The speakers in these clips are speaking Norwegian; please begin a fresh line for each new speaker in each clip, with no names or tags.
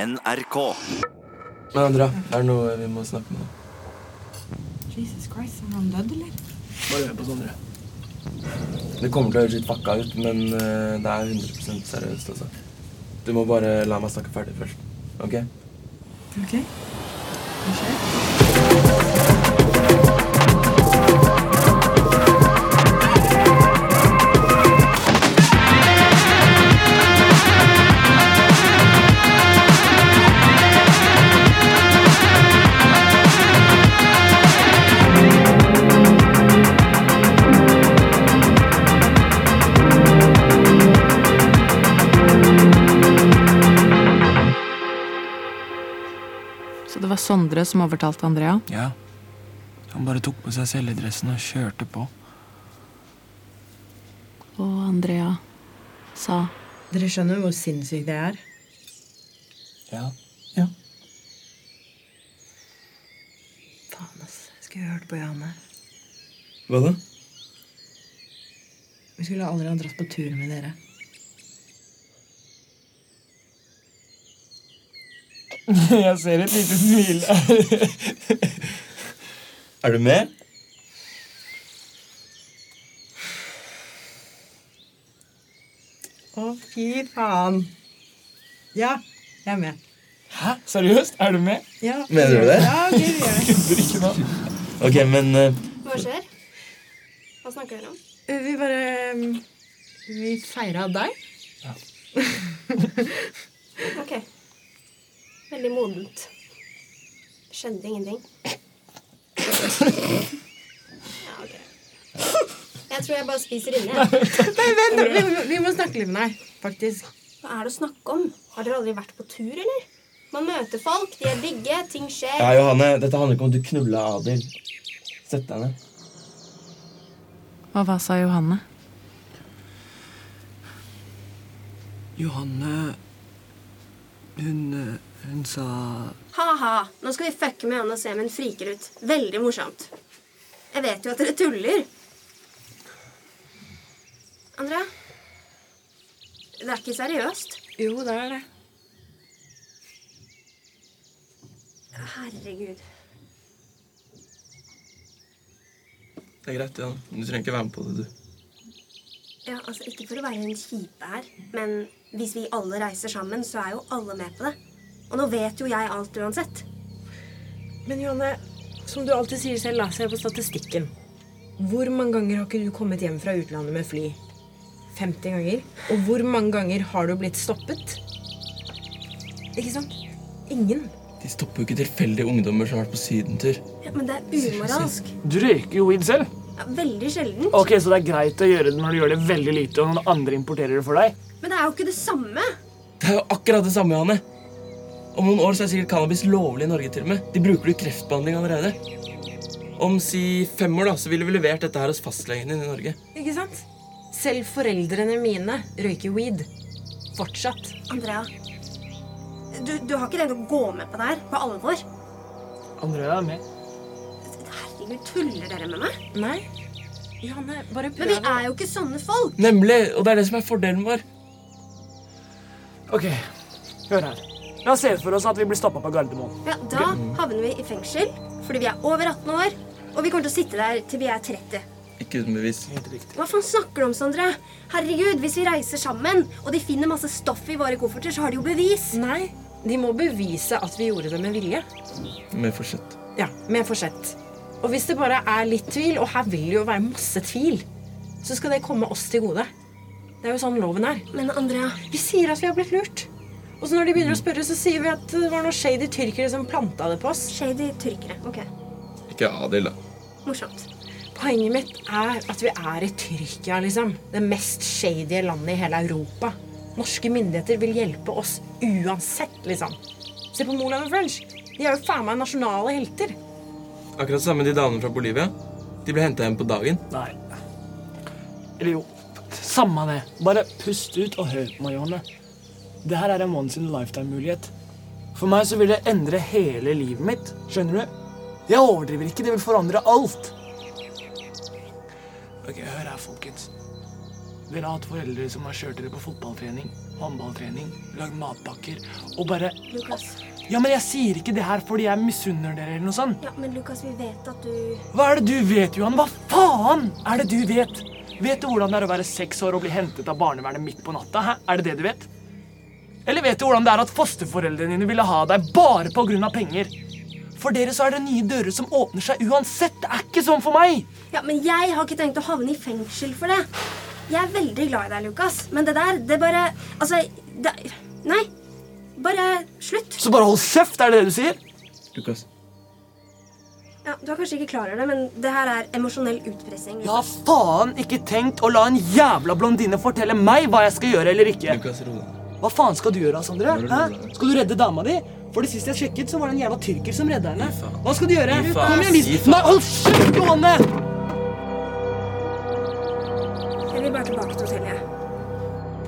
NRK.
Men Andrea, er det noe vi må snakke med deg?
Jesus Christ, er han død, eller?
Bare hør på Sondre.
Det kommer til å høres litt fucka ut, men eh, det er 100 seriøst, altså. Du må bare la meg snakke ferdig først. Ok?
Ok. Hva skjer? Så det var Sondre som overtalte Andrea?
Ja. Han bare tok på seg celledressen og kjørte på.
Og Andrea sa
Dere skjønner hvor sinnssykt det er?
Ja.
Ja.
Faen, ass. Skulle hørt på Johanne.
Hva da?
Vi skulle aldri ha dratt på tur med dere.
Jeg ser et lite smil der.
Er du med?
Å, fy faen. Ja, jeg er med.
Hæ? Seriøst? Er du med?
Ja,
Mener du det?
Ja, ok, vi gjør det.
Kødder ikke nå.
Ok, men eh,
Hva skjer? Hva snakker dere om?
Eh, Vi bare um, Vi feira deg.
Ok. Veldig modent. Skjedde ingenting. Ja, ok. Jeg tror jeg bare spiser inne. jeg.
Nei, vent, vi, vi må snakke litt med deg, faktisk.
Hva er det å snakke om? Har dere aldri vært på tur, eller? Man møter folk, de er digge, ting skjer.
Ja, Johanne, dette handler ikke om at du knulla Adil. Sett deg ned.
Og hva sa Johanne?
Johanne Hun eh, Hun sa
Ha-ha, nå skal vi fucke med han og se om hun friker ut. Veldig morsomt. Jeg vet jo at dere tuller. Andrea? Det er ikke seriøst.
Jo, det er det.
Herregud.
Det er greit, Johanne. Du trenger ikke være med på det, du.
Ja, altså Ikke for å være en kjipe her, men hvis vi alle reiser sammen, så er jo alle med på det. Og nå vet jo jeg alt uansett.
Men Johanne, som du alltid sier selv, la seg på statistikken. Hvor mange ganger har ikke du kommet hjem fra utlandet med fly? 50 ganger. Og hvor mange ganger har du blitt stoppet? Ikke sant? Ingen.
De stopper jo ikke tilfeldige ungdommer som har vært på sydentur.
Ja, men det er umoralsk.
Du røyker jo weed selv.
Ja, veldig sjelden.
Ok, Så det er greit å gjøre det når du gjør det veldig lite, og noen andre importerer det for deg?
Men det er jo ikke det samme.
Det er jo akkurat det samme, Johanne. Om noen år så er sikkert cannabis lovlig i Norge. til og med. De bruker det i kreftbehandling allerede. Om si fem år da, så ville vi levert dette her hos fastlegen din i Norge.
Ikke sant? Selv foreldrene mine røyker weed. Fortsatt.
Andrea, du, du har ikke tenkt å gå med på det her på alvor?
Andrea er med.
Herregud, tuller dere med meg?
Nei. Johanne, bare
Men vi
prøv.
er jo ikke sånne folk.
Nemlig! Og det er det som er fordelen vår.
Ok, hør her. La oss se for oss at vi blir stoppa på Gardermoen.
Ja, Da havner vi i fengsel fordi vi er over 18 år, og vi kommer til å sitte der til vi er 30.
Ikke uten bevis.
Helt riktig.
Hva faen snakker du om, Sondre? Herregud, Hvis vi reiser sammen, og de finner masse stoff i våre kofferter, så har de jo bevis.
Nei. De må bevise at vi gjorde det med vilje.
Med forsett.
Ja, med forsett. Og hvis det bare er litt tvil, og her vil det jo være masse tvil, så skal det komme oss til gode. Det er jo sånn loven er.
Men Andrea,
Vi sier at vi har blitt lurt. Og så når de begynner å spørre, så sier vi at det var noen shady tyrkere som planta det på oss.
shady tyrkere. Ok,
Ikke Adil, da.
morsomt.
Poenget mitt er at vi er i Tyrkia, liksom. Det mest shady landet i hele Europa. Norske myndigheter vil hjelpe oss uansett, liksom. Se på Moland og French. De er jo faen meg nasjonale helter.
Akkurat samme de damene fra Bolivia. De ble henta hjem på dagen.
Nei. Eller jo, samme det. Bare pust ut og hør på meg, Johanne. Det her er en once in a lifetime-mulighet. For meg så vil det endre hele livet mitt. Skjønner du? Jeg overdriver ikke. Det vil forandre alt. Ok, hør her, folkens. Dere har hatt foreldre som har kjørt dere på fotballtrening. håndballtrening, lagd matpakker og bare
Lukas.
Ja, men jeg sier ikke det her fordi jeg misunner dere eller noe sånt.
Ja, men Lukas, vi vet at du
Hva er det du vet, Johan? Hva faen er det du vet? Vet du hvordan det er å være seks år og bli hentet av barnevernet midt på natta? Hæ? Er det det du vet? Eller vet du hvordan det er at fosterforeldrene dine ville ha deg bare pga. penger? For dere så er det nye dører som åpner seg uansett. Det er ikke sånn for meg!
Ja, men jeg har ikke tenkt å havne i fengsel for det. Jeg er veldig glad i deg, Lukas, men det der, det bare Altså, det Nei. Bare slutt.
Så bare hold kjeft, er det det du sier?
Lukas.
Ja, Du er kanskje ikke klar over det, men det her er emosjonell utpressing.
Jeg har faen ikke tenkt å la en jævla blondine fortelle meg hva jeg skal gjøre eller ikke.
Lukas, ro deg.
Hva faen skal du gjøre, Sondre?
Nå er det
Hæ?
lov, da.
Skal du redde dama di? For det siste jeg sjekket, så var det en jævla tyrker som redda
Gi
henne.
faen.
Hva skal du gjøre?
Gi faen.
Kom igjen,
Gi
vis
faen.
Nei, hold kjeft, Johanne!
Jeg vil bare tilbake til hotellet. jeg.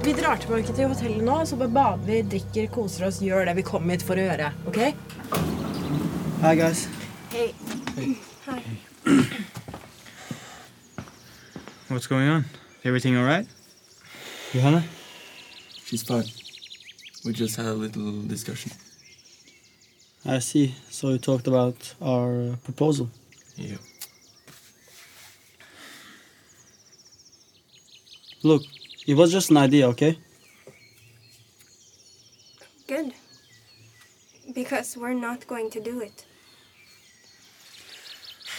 Vi drar tilbake til hotellet nå, så bare bader vi, drikker, koser oss, gjør det vi kom hit for å gjøre. ok?
Hi guys.
Hei.
What's going on? Everything all right? Johanna?
She's fine. We just had a little discussion.
I see. So you talked about our uh, proposal.
Yeah.
Look, it was just an idea, okay?
Good. Because we're not going to do it.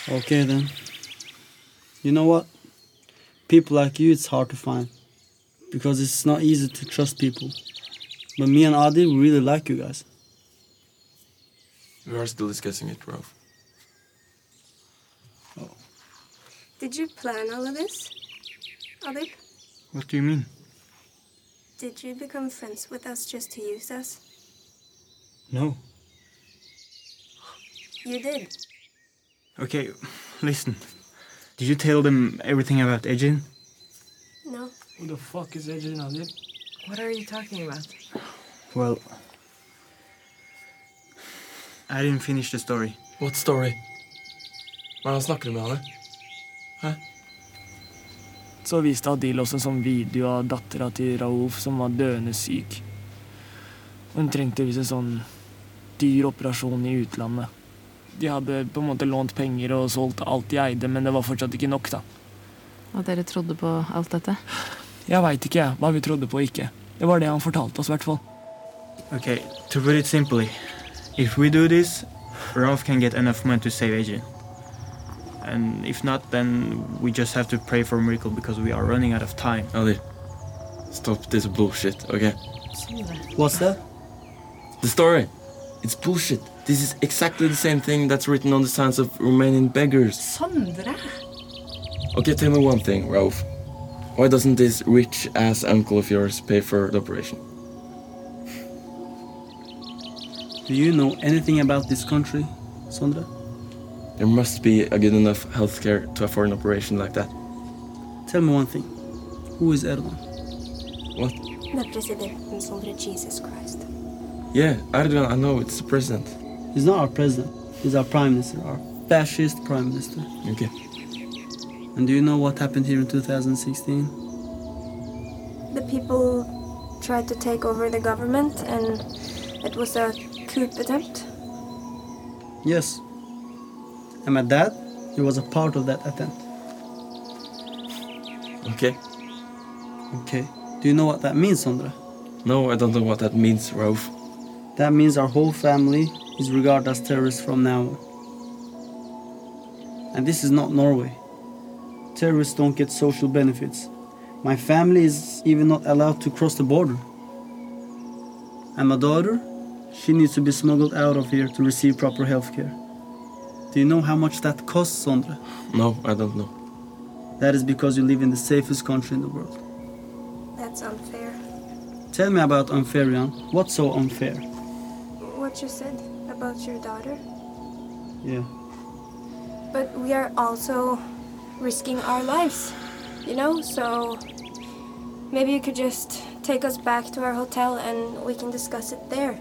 Okay then. You know what? People like you, it's hard to find. Because it's not easy to trust people. But me and Adi we really like you guys.
We are still discussing it, Ralph.
Did you plan all of this? Adib,
What do you mean?
did you become friends with us just to use us?
No.
You did.
Okay, listen. Did you tell them everything about Ejin?
No.
Who the fuck is Adrian Adib?
What are you talking about?
Well, I didn't finish the story.
What story? Hvordan snakker du med henne?
Så viste Adil også en sånn video av dattera til Raouf som var døende syk. Hun trengte visst en sånn dyr operasjon i utlandet. De hadde på en måte lånt penger og solgt alt de eide, men det var fortsatt ikke nok, da.
Og dere trodde på alt dette?
Jeg veit ikke jeg, hva vi trodde på og ikke. Det var det han fortalte oss, i hvert fall.
Okay, to put it simply, if we do this, Ralph can get enough money to save Agent. And if not, then we just have to pray for a miracle because we are running out of time.
Adi, stop this bullshit, ok?
What's that?
The story, it's bullshit. This is exactly the same thing that's written on the signs of Romanian beggars.
Sondre?
Okay, tell me one thing, Ralph. Why doesn't this rich ass uncle of yours pay for the operation?
Do you know anything about this country, Sondra?
There must be a good enough healthcare to afford an operation like that.
Tell me one thing. Who is Erdogan?
What?
The presidenten sobre Jesus Christ.
Yeah, Erdogan, I know it's the president.
He's not our president. He's our prime minister, our fascist prime minister.
Okay.
And do you know what happened here in 2016?
The people tried to take over the government, and it was a coup attempt.
Yes. And my dad, he was a part of that attempt.
Okay.
Okay. Do you know what that means, Sondra?
No, I don't know what that means, Ralph.
That means our whole family is regarded as terrorists from now on. And this is not Norway. Terrorists don't get social benefits. My family is even not allowed to cross the border. And my daughter, she needs to be smuggled out of here to receive proper health care. Do you know how much that costs, Sondra?
No, I don't know.
That is because you live in the safest country in the world.
That's unfair.
Tell me about unfair, Jan. What's so unfair?
What you said about your daughter,
Yeah.
but we are also risking our lives, you know? So maybe you could just take us back to our hotel and we can discuss it there.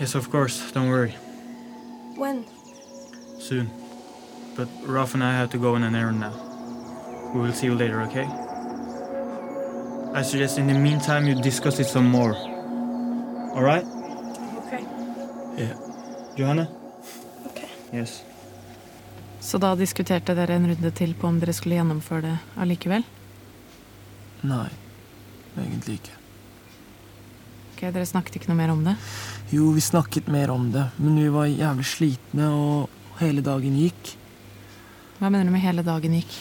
Yes, of course. Don't worry.
When?
Soon. But Ralph and I have to go on an errand now. We will see you later, okay?
I suggest in the meantime you discuss it some more. Alright?
Okay.
Johanna?
Okay.
Yes.
Så da diskuterte dere en runde til på om dere skulle gjennomføre det allikevel?
Nei, egentlig ikke.
Ok, Dere snakket ikke noe mer om det?
Jo, vi snakket mer om det, men vi var jævlig slitne, og hele dagen gikk.
Hva mener du med hele dagen gikk?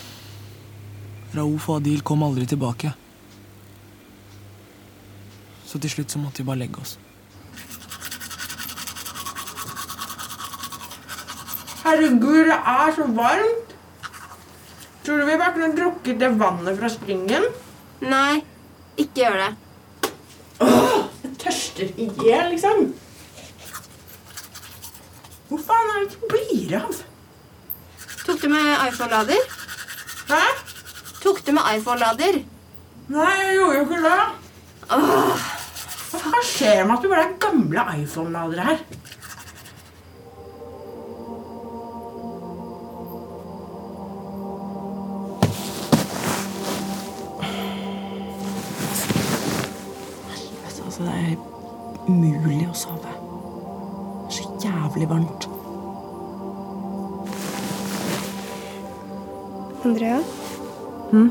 Raouf og Adil kom aldri tilbake. Så til slutt så måtte vi bare legge oss.
Herregud, det er så varmt. Tror du vi bare kunne drukket det vannet fra springen?
Nei, ikke gjør det.
Jeg tørster i hjel, liksom. Hvor faen er det ikke blir av?
Tok du med iPhone-lader?
Hæ?
Tok du med iPhone-lader?
Nei, jeg gjorde jo ikke det.
Åh,
Hva skjer med at det bare er gamle iPhone-ladere her?
Helvete, altså. Det er umulig å sove. Det er så jævlig varmt.
Andrea?
Hm?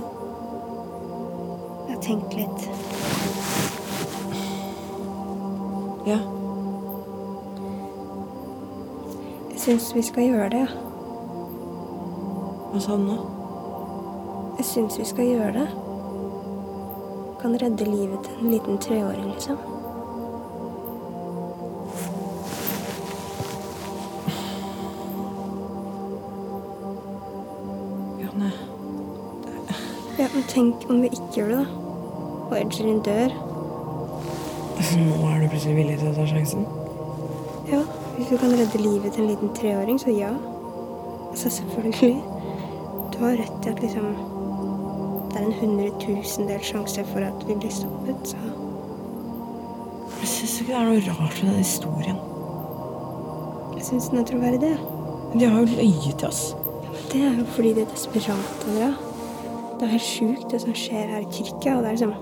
Jeg har tenkt litt.
Ja.
Jeg syns vi skal gjøre det.
Hva sa han nå?
Jeg syns vi skal gjøre det. Kan redde livet til en liten treåring, liksom.
Johanne.
Ja, men tenk om vi ikke gjør det, da. Og Edgelin dør.
Nå er du plutselig villig til å ta sjansen?
Ja, hvis du kan redde livet til en liten treåring, så ja. Altså, selvfølgelig. Du har rett i at liksom Det er en hundretusendel sjanse for at vi blir stoppet, så
Jeg syns ikke det er noe rart ved den historien.
jeg syns den er troverdig. jeg.
De har jo løyet til oss.
Det er jo fordi det er desperat, Andrea. Det er helt sjukt, det som skjer her i Tyrkia. Og det er liksom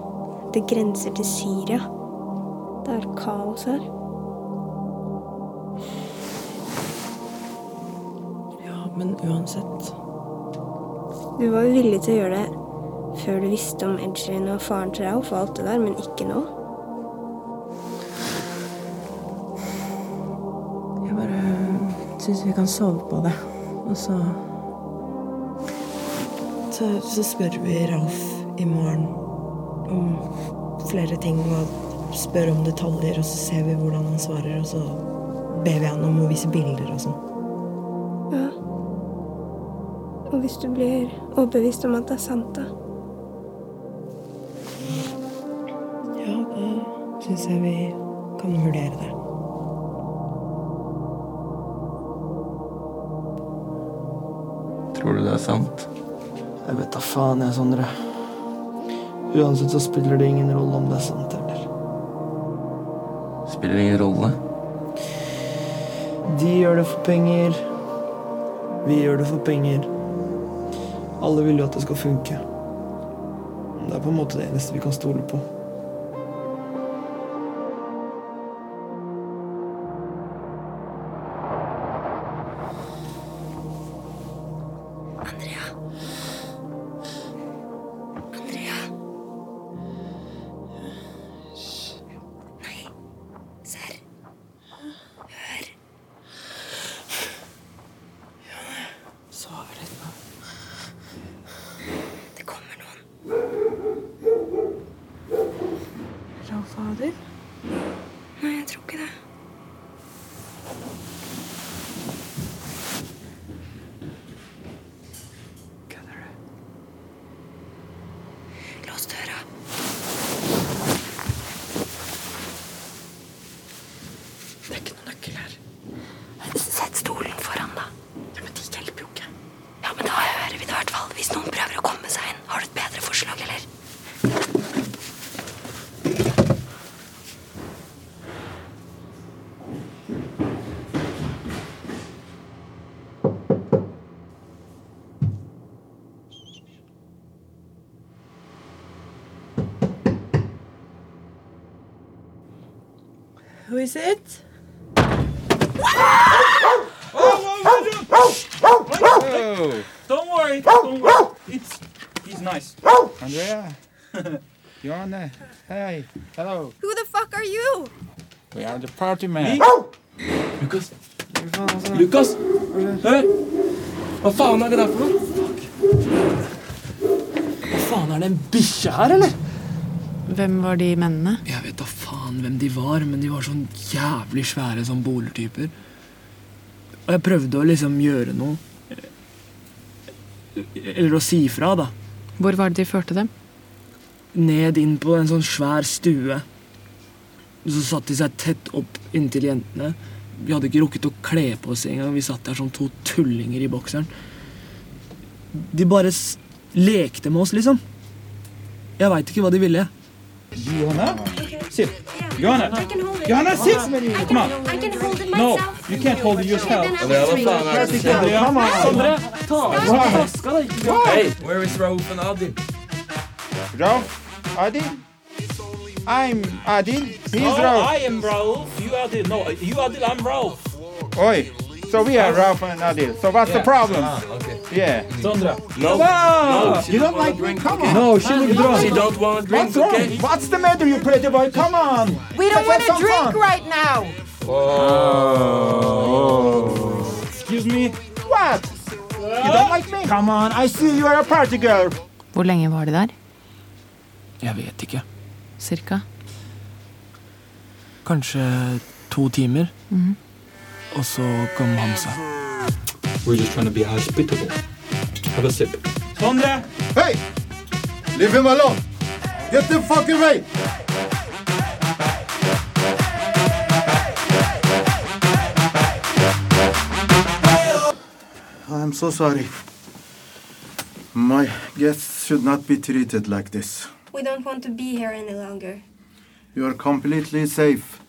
Det grenser til Syria. Det er kaos her.
Ja, men uansett
Du var jo villig til å gjøre det før du visste om Edgelin og faren til Rauf og alt det der, men ikke nå.
Jeg bare syns vi kan sove på det. Og så Så, så spør vi Ralf i morgen om flere ting og spør om detaljer, og så ser vi hvordan han svarer, og så ber vi han om å vise bilder og sånn.
Ja. Og hvis du blir overbevist om at det er sant, da.
Ja, da syns jeg vi kan vurdere det.
Tror du det er sant?
Jeg vet da faen, jeg, Sondre. Uansett så spiller det ingen rolle om det er sant eller
Spiller ingen rolle.
De gjør det for penger. Vi gjør det for penger. Alle vil jo at det skal funke. Det er på en måte det eneste vi kan stole på.
Andrea. Andrea. Nei. Serr. Hør.
Sover litt nå.
Det kommer noen.
Ralf og Adil?
Nei, jeg tror ikke det.
Kødder du?
Lås døra.
Det er ikke noen nøkkel her.
Sett stolen foran, da.
Ja, men de hjelper jo ikke.
Ja, men da hører vi det i hvert fall. Hvis noen prøver å komme seg inn. Har du et bedre forslag, eller?
visit?
Oh.
Don't worry. Don't worry.
It's he's nice. Andrea, you're on the. Hey, hello.
Who the fuck are you?
We are the party man.
Oh!
Lukas. Lukas! Hør! Hva faen er det der for noe?
Hva faen, er det en bikkje her, eller?
Hvem var de mennene?
Jeg vet da faen hvem de var, men de var sånn jævlig svære sånn bolertyper. Og jeg prøvde å liksom gjøre noe. Eller å si fra, da.
Hvor var det de førte dem?
Ned inn på en sånn svær stue. Så satte de seg tett opp inntil jentene. Vi hadde ikke rukket å kle på oss engang. Vi satt der som to tullinger i bokseren. De bare s lekte med oss, liksom. Jeg veit ikke hva de ville.
Johanna, sit. Johanna, Johanna, sit. Come on.
I can hold it
No, you can't hold it yourself.
Andrea, hva faen er det som skjer?
Sondre, ta av deg flaska, da.
Hey, where is Raouf and Adil?
Rauf, Adil. I'm Adil. He's
No,
Rauf.
Oh, I am Raouf. You are the no. You are the. I'm Raouf.
Oi. So we are Rauf and Adil. So what's the
Yeah.
problem?
Ah, okay.
Yeah.
Sondre.
No.
Ah,
No, she
you
don't
don't like me?
wanna drink,
Come
okay?
on.
No, she look drunk. She don't wanna drink,
What's wrong?
okay?
What's the matter, you pretty boy? Come on.
We don't want
Let's
to
have some
drink
fun.
right now.
Oh. Excuse me? What? You don't like me? Come on, I see you are a party girl.
Hvor lenge var de der?
Jeg vet ikke.
Cirka?
Kanskje to timer.
Mhm.
Og så kom Hamsa.
We're just trying to be hospitable. Have a sip.
Sondre! Hey! Leave him alone! Get the fuck away!
I'm so sorry. My guests should not be treated like this.
We don't want to be here any longer.
You are completely safe.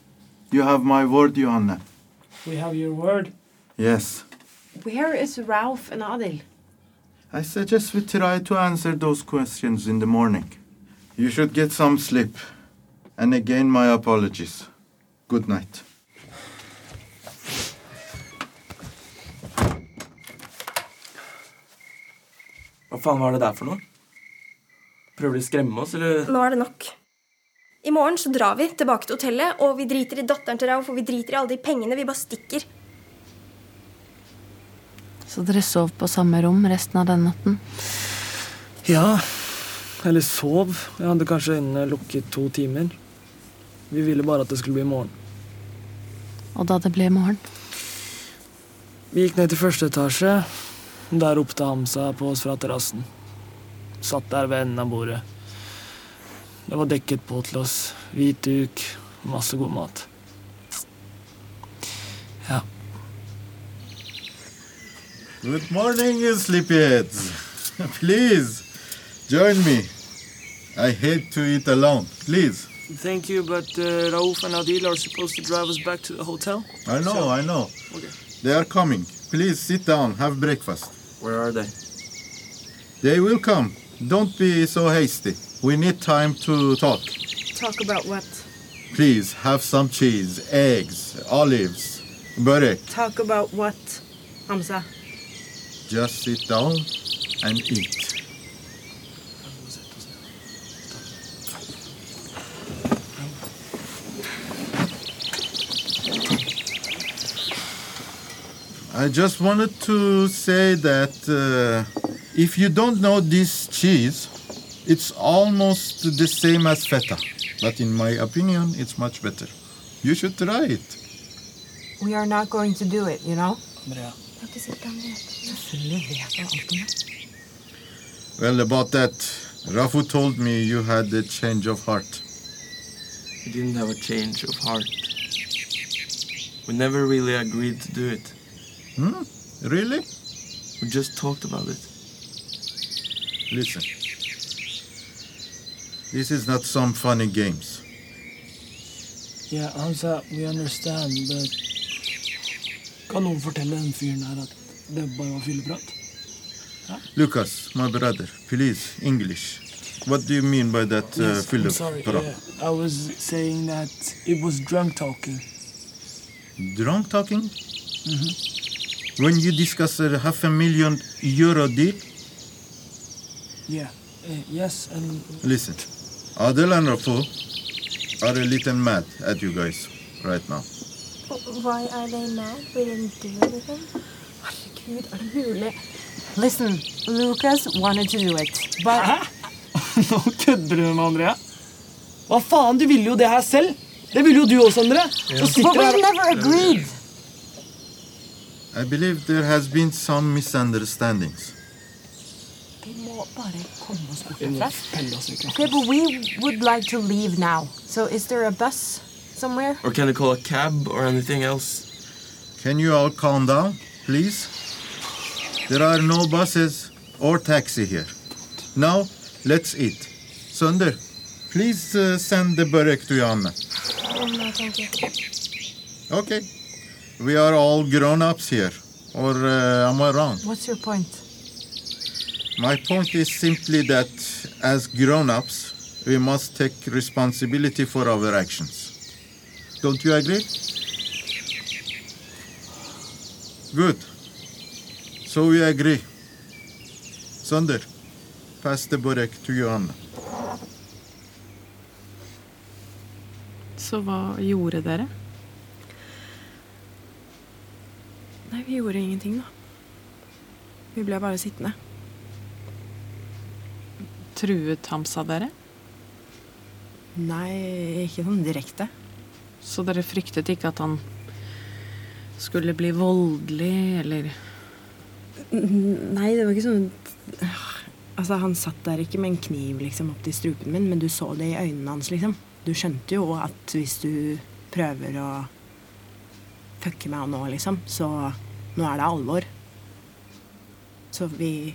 You have my word, Johanna.
We have your word.
Yes.
Where is Ralph and Adil?
I suggest we try to answer those questions in the morning. You should get some sleep. And again, my apologies. Good night.
Hva faen var det der for noe? Prøver de å skremme oss, eller?
Nå er det nok. I morgen så drar vi tilbake til hotellet, og vi driter i datteren til Rauf, og vi driter i alle de pengene. Vi bare stikker.
Så dere sov på samme rom resten av den natten?
Ja. Eller sov. Jeg hadde kanskje øynene lukket to timer. Vi ville bare at det skulle bli morgen.
Og da det ble morgen?
Vi gikk ned til første etasje. Der ropte Hamsa på oss fra terrassen. Satt der ved enden av bordet. Det var dekket på til oss. Hvit duk, masse god mat. Ja.
Good morning, you sleepyheads. Please, join me. I hate to eat alone. Please.
Thank you, but uh, Raouf and Adil are supposed to drive us back to the hotel.
I know, I know.
Okay.
They are coming. Please sit down, have breakfast. Where are they? They will come. Don't be so hasty. We need time to talk.
Talk about what?
Please have some cheese, eggs, olives, burek.
Talk about what, Hamza?
Just sit down and eat. I just wanted to say that uh, if you don't know this cheese, it's almost the same as feta. But in my opinion, it's much better. You should try it.
We are not going to do it, you know?
Andrea.
Selvfølgelig vet jeg alt om det.
Well, about that, Rafu told me you had a change of heart.
We didn't have a change of heart. We never really agreed to do it.
Hmm? Really?
We just talked about it.
Listen. This is not some funny games.
Yeah, Hamza, we understand, but Kan noen fortelle den fyren her at det bare var fylleprat?
Lucas, my brother, please, English. What do you mean by that, uh,
Yes, I'm
Philip?
sorry.
Bro?
uh, I was saying that it was drunk talking.
drunk talking.
Mm-hmm.
When you discuss a half a million euro deal,
Uh,
Yeah. Eh, yes, and
listen, Adel and Rafu are a little mad at you guys right now.
Why are they mad? We didn't do anything.
Herregud, er det mulig? Listen, Lucas wanted to do it, but
Uh-huh.
Nå kødder du med Andrea. Hva faen, du ville jo det her selv. Det ville jo du også, Andrea. Så
But
sitter
we
du her
never agreed.
Eh,
I believe there has been some misunderstandings.
Vi må bare komme oss bort herfra.
Pelle oss ikke.
Okay, but we would like to leave now. So is there a bus somewhere?
Or can you call a cab or anything else?
Can you all calm down, please? There are no buses or taxi here. Now, let's eat. Sunder, please uh, send the burek to Johanna.
Oh, no, thank you.
Okay. We are all grown ups here. Or uh, am I wrong?
What's your point?
My point is simply that as grown ups, we must take responsibility for our actions. Don't you agree? Good. So we agree. Sunder, pass the burek to Johanna.
Så hva gjorde dere?
Nei, vi gjorde ingenting, da. Vi ble bare sittende.
Truet Hamsa dere?
Nei, ikke sånn direkte.
Så dere fryktet ikke at han skulle bli voldelig, eller
N- Nei, det var ikke sånn Altså, han satt der ikke med en kniv liksom opp til strupen min, men du så det i øynene hans, liksom. Du skjønte jo at hvis du prøver å fucke med han nå, liksom, så nå er det alvor. Så vi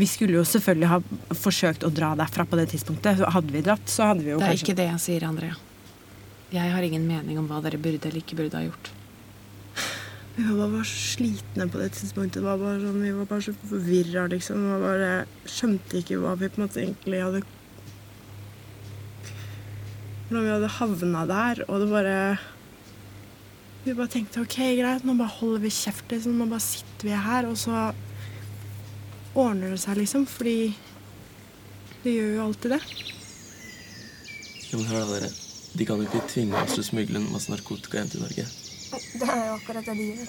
Vi skulle jo selvfølgelig ha forsøkt å dra derfra på det tidspunktet. Så Hadde vi dratt, så hadde vi jo
Det er
kanskje
ikke det jeg sier, Andrea. Jeg har ingen mening om hva dere burde eller ikke burde ha gjort.
Vi var bare så slitne på det tidspunktet. Det var bare sånn, vi var bare så forvirra, liksom. Vi var bare, skjønte ikke hva vi på en måte egentlig hadde Hvordan vi hadde havna der. Og det bare Vi bare tenkte OK, greit, nå bare holder vi kjeft, liksom. Nå bare sitter vi her, og så ordner det seg, liksom. Fordi det gjør jo alltid det.
Ja, men hør da, dere. De kan jo ikke tvinge oss til å smugle en masse narkotika hjem til Norge.
Det er jo akkurat det de gjør.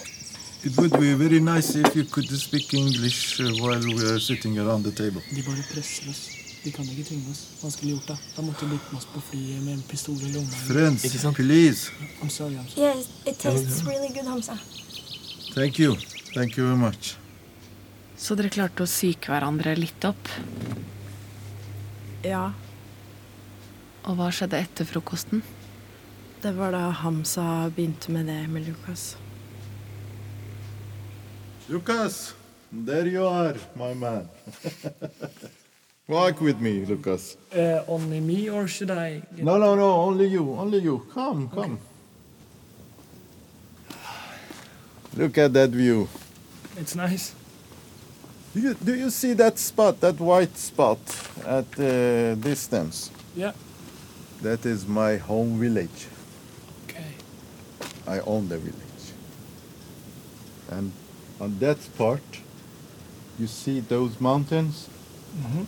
It would be very nice if you could speak English uh, while we are sitting around the table.
De bare presser oss. De kan ikke tvinge oss. Hva skulle de gjort da? Da måtte de blitt med oss på flyet med en pistol i lomma.
Friends, please.
I'm sorry, I'm sorry.
Yes, it tastes really good, Hamsa.
Thank you. Thank you very much.
Så dere klarte å psyke hverandre litt opp?
Ja.
Og hva skjedde etter frokosten?
Det var da Hamsa begynte med det med Lukas.
Lucas, there you are, my man. Walk with me, Lucas.
Eh, only me, or should I get...
No, no, no, only you, only you. Come, come. Look at that view.
It's nice.
Do you, do you see that spot, that white spot at uh, distance?
Yeah.
That is my home village.
Okay.
I own the village. And on that part, you see those mountains?
Mhm.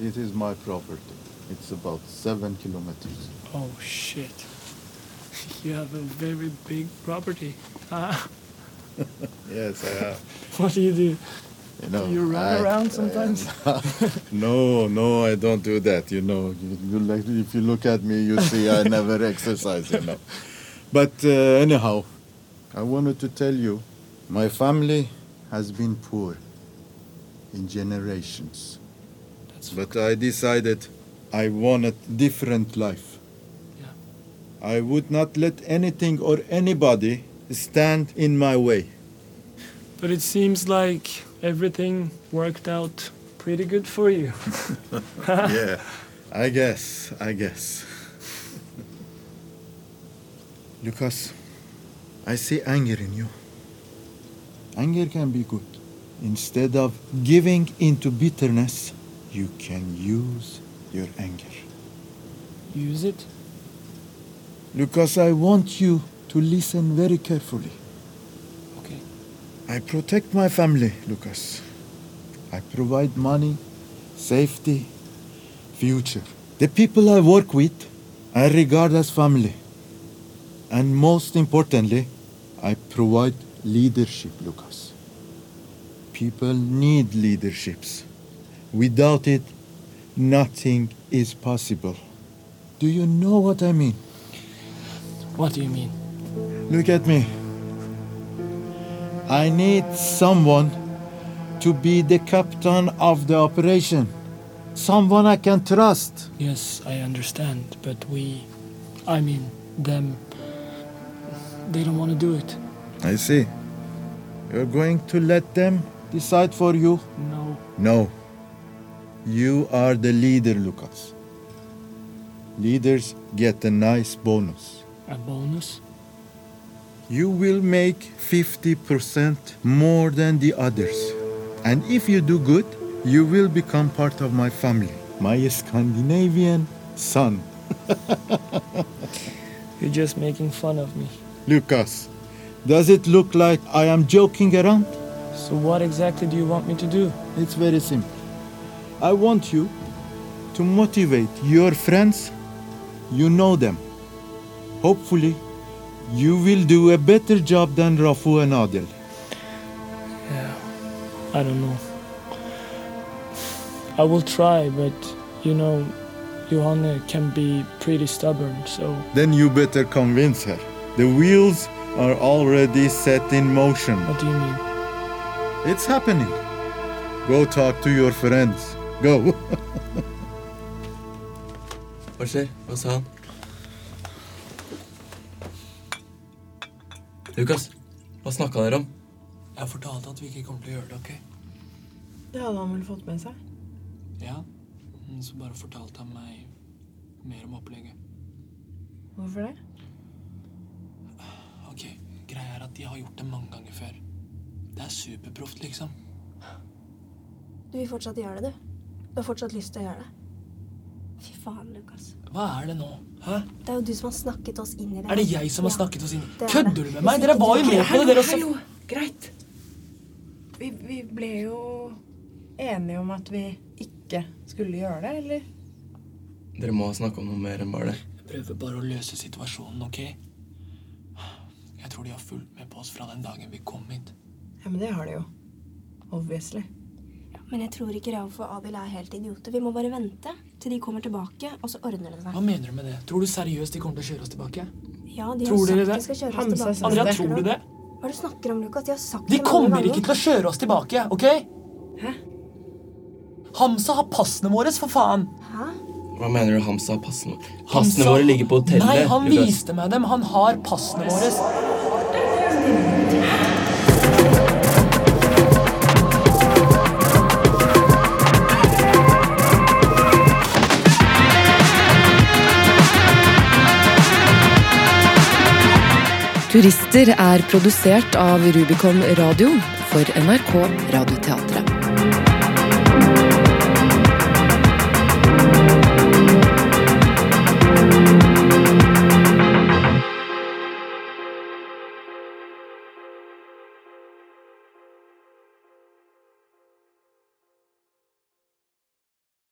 It is my property. It's about seven kilometers.
Oh, shit. You have a very big property. Ah,
Yes, I have.
what do you do?
You know,
do you run
I-
around sometimes?
Uh, no, no, I don't do that. You know, you, you like, if you look at me, you see I never exercise. You know, but uh, anyhow, I wanted to tell you, my family has been poor in generations. but I decided I wanted different life. I would not let anything or anybody stand in my way.
But it seems like everything worked out pretty good for you.
yeah, I guess, I guess. Lucas, I see anger in you. Anger can be good. Instead of giving into bitterness, you can use your anger.
Use it?
Lucas, I want you to listen very carefully.
Okay.
I protect my family, Lucas. I provide money, safety, future. The people I work with, I regard as family. And most importantly, I provide leadership, Lucas. People need leaderships. Without it, nothing is possible. Do you know what I mean?
What do you mean?
Look at me. I need someone to be the captain of the operation. Someone I can trust.
Yes, I understand, but we. I mean, them. They don't want to do it.
I see. You're going to let them decide for you?
No.
No. You are the leader, Lucas. Leaders get a nice bonus.
A bonus?
You will make 50% more than the others. And if you do good, you will become part of my family, my Scandinavian son.
You're just making fun of me.
Lucas, does it look like I am joking around?
So, what exactly do you want me to do?
It's very simple. I want you to motivate your friends. You know them. Hopefully, you will do a better job than Rafu and Adel.
Yeah, I don't know. I will try, but you know, Johanna can be pretty stubborn, so.
Then you better convince her. The wheels are already set in motion.
What do you mean?
It's happening. Go talk to your friends. Go.
Hva skjer? Hva sa han? Lukas, hva snakka dere om?
Jeg fortalte at vi ikke kommer til å gjøre det, ok?
Det hadde han vel fått med seg?
Ja. Men så bare fortalte han meg mer om opplegget.
Hvorfor det?
Ok, greia er at de har gjort det mange ganger før. Det er superproft, liksom.
Du vil fortsatt gjøre det, du. Du har fortsatt lyst til å gjøre det. Fy faen, Lukas.
Hva er det nå? Hæ?
Det er jo du som har snakket oss inn i det.
Er det jeg som har snakket oss inn?
det er det.
Kødder du med meg?
Hvis
Dere
ikke
var
du-
jo med på det, dere også.
Hallo, greit. Vi, vi ble jo enige om at vi ikke skulle gjøre det, eller?
Dere må snakke om noe mer enn bare det.
Jeg prøver bare å løse situasjonen, Sånn, ok? Jeg tror de har fulgt med på oss fra den dagen vi kom hit.
Ja, men det har de jo. Obviously.
Men jeg tror ikke Rauf og Adil er helt idioter. Vi må bare vente til de kommer tilbake, og så ordner det seg.
Hva mener du med det? Tror du seriøst de kommer til å kjøre oss tilbake?
Ja, de
Tror
har
dere
sagt
det?
de skal kjøre
Hansa
oss tilbake.
sa Andrea, det. tror du det?
Hva er det du snakker om, Lukas? De har sagt
De
det mange
kommer
ganger.
ikke til å kjøre oss tilbake, ok? Hæ? Hamsa har passene våre, for faen!
Hva mener du Hamsa har passene våre? Passene våre ligger på hotellet.
Nei, han
Lukas.
viste meg dem. Han har passene våre.
Turister er produsert av Rubicon Radio for NRK Radioteatret.